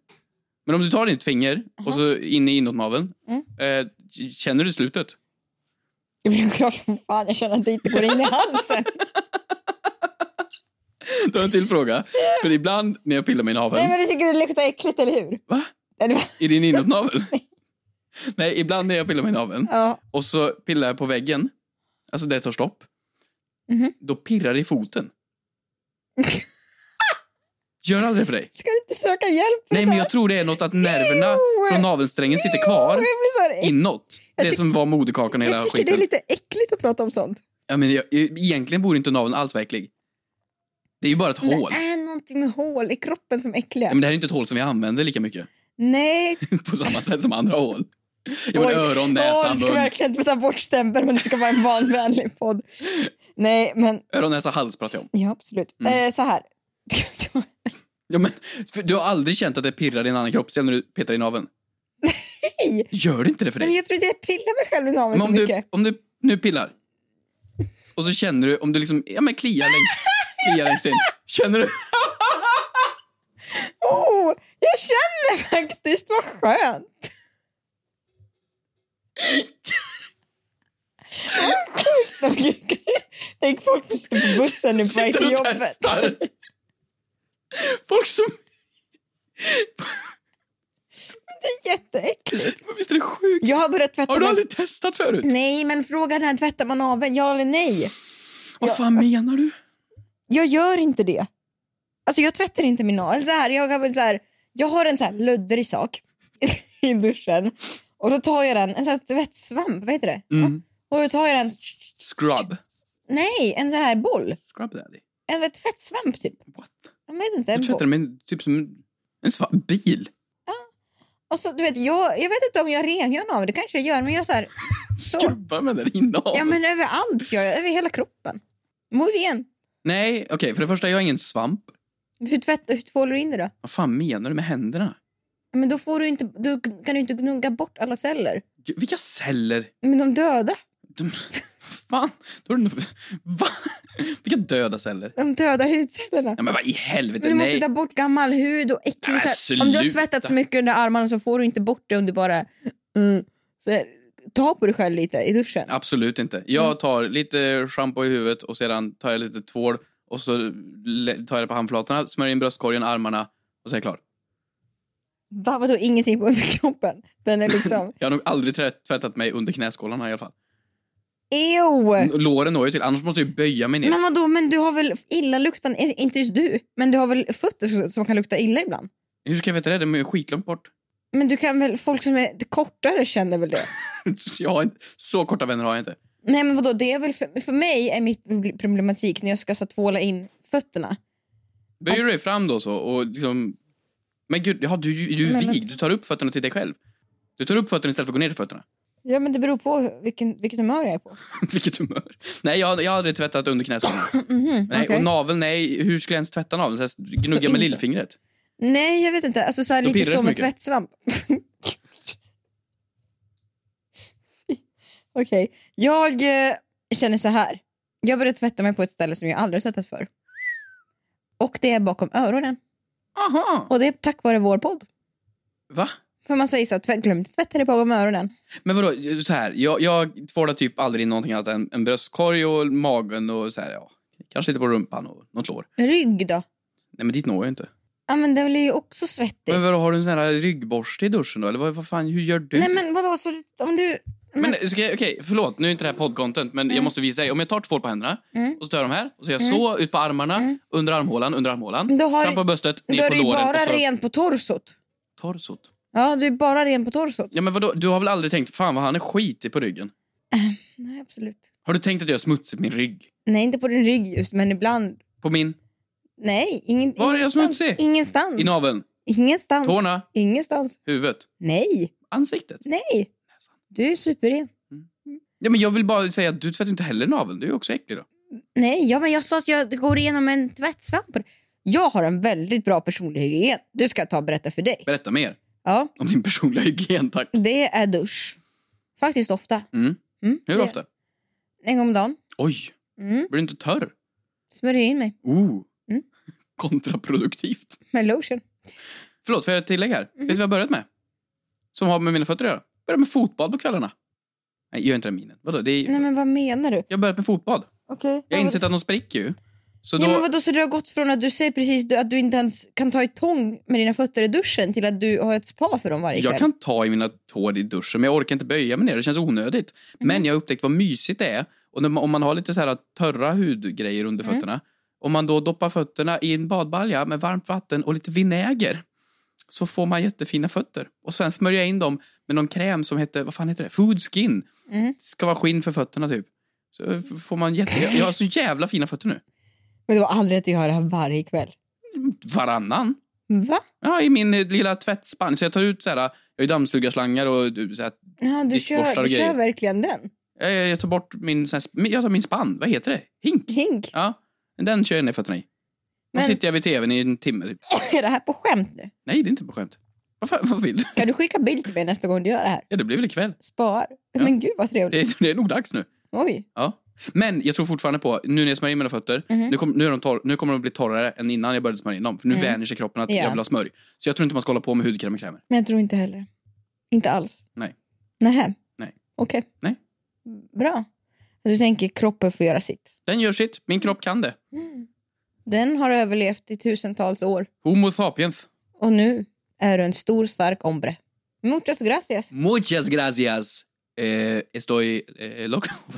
[SPEAKER 2] Men om du tar ditt finger och så in i inåtnaveln,
[SPEAKER 3] Mm.
[SPEAKER 2] eh, k- känner du slutet?
[SPEAKER 3] Det blir klart som fan jag känner att det inte går in i halsen.
[SPEAKER 2] Då har jag en till fråga. För ibland när jag pillar min navel...
[SPEAKER 3] Nej men du tycker det luktar äckligt, eller hur?
[SPEAKER 2] Va?
[SPEAKER 3] Eller,
[SPEAKER 2] I din inåtnavel? Nej, ibland när jag pillar min naveln
[SPEAKER 3] ja.
[SPEAKER 2] och så pillar jag på väggen, alltså det tar stopp,
[SPEAKER 3] Mhm.
[SPEAKER 2] då pirrar det i foten. Gör aldrig för dig.
[SPEAKER 3] Ska du inte söka hjälp för
[SPEAKER 2] Nej,
[SPEAKER 3] det
[SPEAKER 2] men
[SPEAKER 3] här?
[SPEAKER 2] jag tror det är något att nerverna
[SPEAKER 3] Jo!
[SPEAKER 2] från navelsträngen sitter kvar
[SPEAKER 3] Jo, jag blir så här, äck-
[SPEAKER 2] inåt.
[SPEAKER 3] Jag
[SPEAKER 2] Det
[SPEAKER 3] tyck-
[SPEAKER 2] som var moderkakan och hela
[SPEAKER 3] jag tycker
[SPEAKER 2] skiten.
[SPEAKER 3] det är lite äckligt att prata om sånt.
[SPEAKER 2] Ja, men jag, egentligen borde inte naveln alls vara äcklig. Det är ju bara ett hål.
[SPEAKER 3] Det är någonting med hål i kroppen som är äckliga.
[SPEAKER 2] Ja, men det här är inte ett hål som vi använder lika mycket.
[SPEAKER 3] Nej,
[SPEAKER 2] På samma sätt som andra hål. Ja, men
[SPEAKER 3] Oj.
[SPEAKER 2] öron,
[SPEAKER 3] Åh,
[SPEAKER 2] näsa,
[SPEAKER 3] du ska
[SPEAKER 2] mun.
[SPEAKER 3] verkligen inte ta bort stämpeln men det ska vara en barnvänlig podd. Nej, men
[SPEAKER 2] Öron, näsa, hals pratar jag om.
[SPEAKER 3] ja, absolut.
[SPEAKER 2] Mm.
[SPEAKER 3] Eh, så här.
[SPEAKER 2] Ja, men, för du har aldrig känt att det pirrar i en annan kroppsdel när du petar i naveln?
[SPEAKER 3] Nej.
[SPEAKER 2] Gör det inte det för dig?
[SPEAKER 3] men jag tror att jag pillar mig själv i naveln
[SPEAKER 2] Men
[SPEAKER 3] så
[SPEAKER 2] om, du,
[SPEAKER 3] mycket.
[SPEAKER 2] om du nu pillar och så känner du om du liksom, ja men kliar längst, kliar längst in. Känner du?
[SPEAKER 3] Oh, jag känner faktiskt, vad skönt. Vad sjukt. Tänk folk som sitter på bussen nu på väg till
[SPEAKER 2] Sitter och
[SPEAKER 3] jobbet.
[SPEAKER 2] testar. Folk som,
[SPEAKER 3] Det är jätteäckligt.
[SPEAKER 2] men visst är det sjukt?
[SPEAKER 3] Jag har börjat tvätta
[SPEAKER 2] Har du
[SPEAKER 3] mig-
[SPEAKER 2] aldrig testat förut?
[SPEAKER 3] Nej, men frågan är tvättar man naveln? Ja eller nej?
[SPEAKER 2] Vad fan menar du?
[SPEAKER 3] jag gör inte det. Alltså jag tvättar inte min navel. Så här, jag, har väl så här, jag har en så här luddrig sak i duschen och då tar jag den, en sån här tvättsvamp, vad heter det?
[SPEAKER 2] Mm.
[SPEAKER 3] Ja. Och då tar jag den,
[SPEAKER 2] Scrub.
[SPEAKER 3] nej, en så här boll.
[SPEAKER 2] Scrub daddy.
[SPEAKER 3] En tvättsvamp typ.
[SPEAKER 2] What?
[SPEAKER 3] Jag vet inte. en
[SPEAKER 2] Du
[SPEAKER 3] boll.
[SPEAKER 2] tvättar med typ som en, en svart bil.
[SPEAKER 3] Och så, du vet, jag, jag vet inte om jag rengör naveln, det kanske jag gör, men jag så här, så.
[SPEAKER 2] Skrubbar med den innan.
[SPEAKER 3] Ja men överallt gör jag, över hela kroppen. Muy bien.
[SPEAKER 2] Nej, okej, för det första, jag har ingen svamp.
[SPEAKER 3] Hur, tvätt, hur tvålar du in det då?
[SPEAKER 2] Vad fan menar du med händerna?
[SPEAKER 3] Ja, Men då får du inte, du, kan du inte gnugga bort alla celler.
[SPEAKER 2] Gud, Vilka celler?
[SPEAKER 3] Men de döda.
[SPEAKER 2] De, fan, då har du nog- Va? Vilka döda celler?
[SPEAKER 3] De döda hudcellerna.
[SPEAKER 2] Ja, men vad i helvete,
[SPEAKER 3] Men du måste
[SPEAKER 2] nej.
[SPEAKER 3] ta bort gammal hud och äcklig...
[SPEAKER 2] Nej, men
[SPEAKER 3] så här, om du har
[SPEAKER 2] sluta.
[SPEAKER 3] svettats så mycket under armarna så får du inte bort det om du bara... Mm, så här, ta på dig själv lite i duschen.
[SPEAKER 2] Absolut inte.
[SPEAKER 3] Mm.
[SPEAKER 2] Jag tar lite schampo i huvudet och sedan tar jag lite tvål och så le- tar jag det på handflatorna, smörjer in bröstkorgen, armarna och så är jag klar.
[SPEAKER 3] Va, vadå ingenting på underkroppen? Den är liksom...
[SPEAKER 2] Jag har nog aldrig trä- tvättat mig under knäskålarna i alla fall.
[SPEAKER 3] Ew!
[SPEAKER 2] Låren når ju till, annars måste jag ju böja mig ner.
[SPEAKER 3] Men vadå, men du har väl illaluktan, i- inte just du, men du har väl fötter som kan lukta illa ibland?
[SPEAKER 2] Hur ska jag veta det? De är ju skitlångt bort.
[SPEAKER 3] Men du kan väl, folk som är kortare känner väl det?
[SPEAKER 2] jag har inte, så korta vänner har jag inte.
[SPEAKER 3] Nej men vadå, det är väl för, för mig är mitt proble- problematik när jag ska så, här tvåla in fötterna.
[SPEAKER 2] Böjer du dig fram då så och liksom... Men gud, ja, du, du är
[SPEAKER 3] Men-
[SPEAKER 2] vig. Du tar upp fötterna till dig själv. Du tar upp fötterna istället för att gå ner till fötterna.
[SPEAKER 3] Ja men det beror på vilken, vilket humör jag är på.
[SPEAKER 2] Vilket humör. Nej, jag, jag har aldrig tvättat under knäskålarna.
[SPEAKER 3] Mhm,
[SPEAKER 2] nej,
[SPEAKER 3] okej.
[SPEAKER 2] Och naveln, nej. Hur skulle jag ens tvätta naveln? Så här, gnugga
[SPEAKER 3] Så
[SPEAKER 2] med
[SPEAKER 3] in så.
[SPEAKER 2] lillfingret.
[SPEAKER 3] Nej jag vet inte, alltså så här,
[SPEAKER 2] Då
[SPEAKER 3] lite
[SPEAKER 2] pirrar det
[SPEAKER 3] som
[SPEAKER 2] för
[SPEAKER 3] en
[SPEAKER 2] mycket.
[SPEAKER 3] tvättsvamp. Okej, jag eh, känner så här. Jag började tvätta mig på ett ställe som jag aldrig tvättat för. Och det är bakom öronen.
[SPEAKER 2] Aha.
[SPEAKER 3] Och det är tack vare vår podd.
[SPEAKER 2] Va?
[SPEAKER 3] För man säger så att glöm inte tvätta dig bakom öronen.
[SPEAKER 2] Men vadå, så här. Jag, jag tvålar typ aldrig in någonting annat än en bröstkorg och magen och så här, ja. Kanske lite på rumpan och något lår.
[SPEAKER 3] Rygg då?
[SPEAKER 2] Nej, men dit når jag inte.
[SPEAKER 3] Ja men det blir ju också svettigt.
[SPEAKER 2] Men vadå, har du en sån här ryggborste i duschen då? Eller vad, vad fan, hur gör du?
[SPEAKER 3] Nej men vadå, så du- om du...
[SPEAKER 2] Men, ska jag, okej, förlåt, nu är inte det här poddcontent, men jag måste visa dig. Om jag tar tvål på händerna
[SPEAKER 3] Mm.
[SPEAKER 2] och så tar jag de här och så gör jag så, ut på armarna, under armhålan, under armhålan,
[SPEAKER 3] Då har
[SPEAKER 2] fram
[SPEAKER 3] du-
[SPEAKER 2] på bröstet,
[SPEAKER 3] Då
[SPEAKER 2] ner
[SPEAKER 3] är
[SPEAKER 2] på
[SPEAKER 3] du ju
[SPEAKER 2] låren alltså-
[SPEAKER 3] bara
[SPEAKER 2] och så
[SPEAKER 3] ren på torsot.
[SPEAKER 2] torsot.
[SPEAKER 3] Ja, du är bara ren på torsot.
[SPEAKER 2] Ja, men vadå, du har väl aldrig tänkt, fan vad han är skitig på ryggen?
[SPEAKER 3] Nej, absolut.
[SPEAKER 2] Har du tänkt att jag har smutsigt min rygg?
[SPEAKER 3] Nej, inte på din rygg just, men ibland.
[SPEAKER 2] På min?
[SPEAKER 3] Nej, ingen,
[SPEAKER 2] Var är jag
[SPEAKER 3] ingenstans.
[SPEAKER 2] smutsig?
[SPEAKER 3] Ingenstans.
[SPEAKER 2] I naveln?
[SPEAKER 3] ingenstans.
[SPEAKER 2] Tårna?
[SPEAKER 3] Ingenstans.
[SPEAKER 2] Huvudet?
[SPEAKER 3] Nej.
[SPEAKER 2] Ansiktet?
[SPEAKER 3] Nej. Du är superren.
[SPEAKER 2] Ja, men jag vill bara säga att du tvättar inte heller naveln, du är ju också äcklig då.
[SPEAKER 3] Nej, ja, men jag sa att jag går igenom en tvättsvamp. Jag har en väldigt bra personlig hygien. Du ska ta och berätta för dig.
[SPEAKER 2] Berätta mer
[SPEAKER 3] Ja,
[SPEAKER 2] om din personliga hygien, tack.
[SPEAKER 3] det är dusch. Faktiskt ofta.
[SPEAKER 2] Mm.
[SPEAKER 3] Mm,
[SPEAKER 2] Hur
[SPEAKER 3] det-
[SPEAKER 2] ofta?
[SPEAKER 3] En gång om dagen.
[SPEAKER 2] Oj,
[SPEAKER 3] Mm.
[SPEAKER 2] blir du inte törr?
[SPEAKER 3] Smörjer in mig
[SPEAKER 2] Oh.
[SPEAKER 3] Mm.
[SPEAKER 2] Kontraproduktivt.
[SPEAKER 3] med lotion.
[SPEAKER 2] Förlåt, får jag ett tillägg här?
[SPEAKER 3] Mm.
[SPEAKER 2] Vet du vad jag börjat med? Som har med mina fötter att göra? Börjat med fotbad på kvällarna. Nej, gör inte den minen. Vadå? Det är...
[SPEAKER 3] Nej, men vad menar du?
[SPEAKER 2] Jag har börjat med fotbad.
[SPEAKER 3] Okej.
[SPEAKER 2] Jag har insett att de spricker ju. Så då...
[SPEAKER 3] Ja, men vadå, så du har gått från att du säger precis du- att du inte ens kan ta i tång med dina fötter i duschen till att du har ett spa för dem varje
[SPEAKER 2] jag
[SPEAKER 3] kväll?
[SPEAKER 2] kan ta i mina tår i duschen, men jag orkar inte böja mig ner. Det känns onödigt. Men jag har upptäckt vad mysigt det är. Och när man, om man har lite så här törra hudgrejer under
[SPEAKER 10] Mm.
[SPEAKER 2] fötterna. Om man då doppar fötterna i en badbalja med varmt vatten och lite vinäger. Så får man jättefina fötter. Och sen smörjer jag in dem med någon kräm som heter, vad fan heter det? Food skin.
[SPEAKER 3] Mm.
[SPEAKER 2] ska vara skinn för fötterna typ. Så f- får man jätte... Jag har så jävla fina fötter nu.
[SPEAKER 3] Men det var aldrig att du gör det här varje kväll.
[SPEAKER 2] Varannan.
[SPEAKER 3] Va?
[SPEAKER 2] Ja, i min eh, lilla tvättspann. Så jag tar ut så här, jag har ju dammsugarslangar och du, så här,
[SPEAKER 3] Ja, du
[SPEAKER 2] Diskborstar
[SPEAKER 3] kör,
[SPEAKER 2] och
[SPEAKER 3] du
[SPEAKER 2] grejer.
[SPEAKER 3] kör verkligen den?
[SPEAKER 2] Eh, jag, jag- jag tar bort min, så här, sp- jag tar min spann, vad heter det? Hink?
[SPEAKER 3] Hink?
[SPEAKER 2] Ja, den kör jag ner fötterna i.
[SPEAKER 3] Men-
[SPEAKER 2] Då sitter jag vid tvn i en timme typ.
[SPEAKER 3] är det här på skämt nu?
[SPEAKER 2] Nej, det är inte på skämt. Vad fan, vad vill du?
[SPEAKER 3] Kan du skicka bild till mig nästa gång du gör det här?
[SPEAKER 2] Ja, det blir väl ikväll.
[SPEAKER 3] Spar.
[SPEAKER 2] Ja. Eh.
[SPEAKER 3] Men gud vad trevligt.
[SPEAKER 2] Det är, det är nog dags nu.
[SPEAKER 3] Oj.
[SPEAKER 2] Ja. Men jag tror fortfarande på, nu när jag smörjer in mina fötter,
[SPEAKER 3] Mhm.
[SPEAKER 2] nu, kom, nu, är de torr, nu kommer de bli torrare än innan jag började smörja in dem. För nu
[SPEAKER 3] Mm.
[SPEAKER 2] vänjer sig kroppen att
[SPEAKER 3] Ja.
[SPEAKER 2] jag vill ha smörj. Så jag tror inte man ska hålla på med hudkräm och krämer.
[SPEAKER 3] Men jag tror inte heller. Inte alls?
[SPEAKER 2] Nej.
[SPEAKER 3] Nähä?
[SPEAKER 2] Nej.
[SPEAKER 3] Okej.
[SPEAKER 2] Nej.
[SPEAKER 3] Bra. Du tänker kroppen får göra sitt.
[SPEAKER 2] Den gör sitt, min kropp kan det.
[SPEAKER 3] Den har överlevt i tusentals år
[SPEAKER 2] Homo sapiens.
[SPEAKER 3] och nu är du en stor stark ombre. Muchas gracias.
[SPEAKER 2] Muchas gracias. Eh, estoy eh, loco.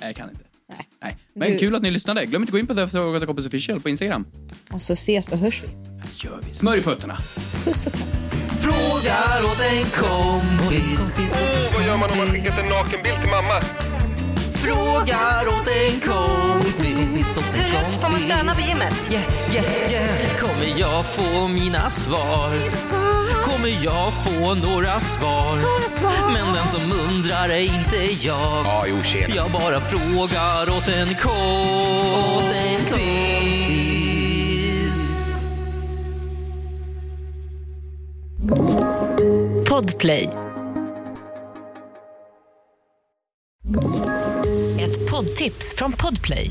[SPEAKER 2] Nej, jag kan inte. Nej. Nej. Men
[SPEAKER 3] Du-
[SPEAKER 2] kul att ni lyssnade. Glöm inte gå in på The Frågat Kompis Official på Instagram.
[SPEAKER 3] Och så ses och hörs vi.
[SPEAKER 2] gör vi. Smörj fötterna.
[SPEAKER 3] Puss och kram.
[SPEAKER 1] Frågar åt en kompis.
[SPEAKER 5] Åh, vad gör man om man skickat en nakenbild till mamma?
[SPEAKER 1] Frågar åt en kompis. Hur högt får man stöna vid gymmet? Yeah, yeah, yeah. Kommer jag få mina svar? Kommer jag få några svar? Men den som undrar är inte jag.
[SPEAKER 8] Ja, jo, tjena.
[SPEAKER 1] Jag bara frågar åt en kompis.
[SPEAKER 6] Podplay. Ett poddtips från Podplay.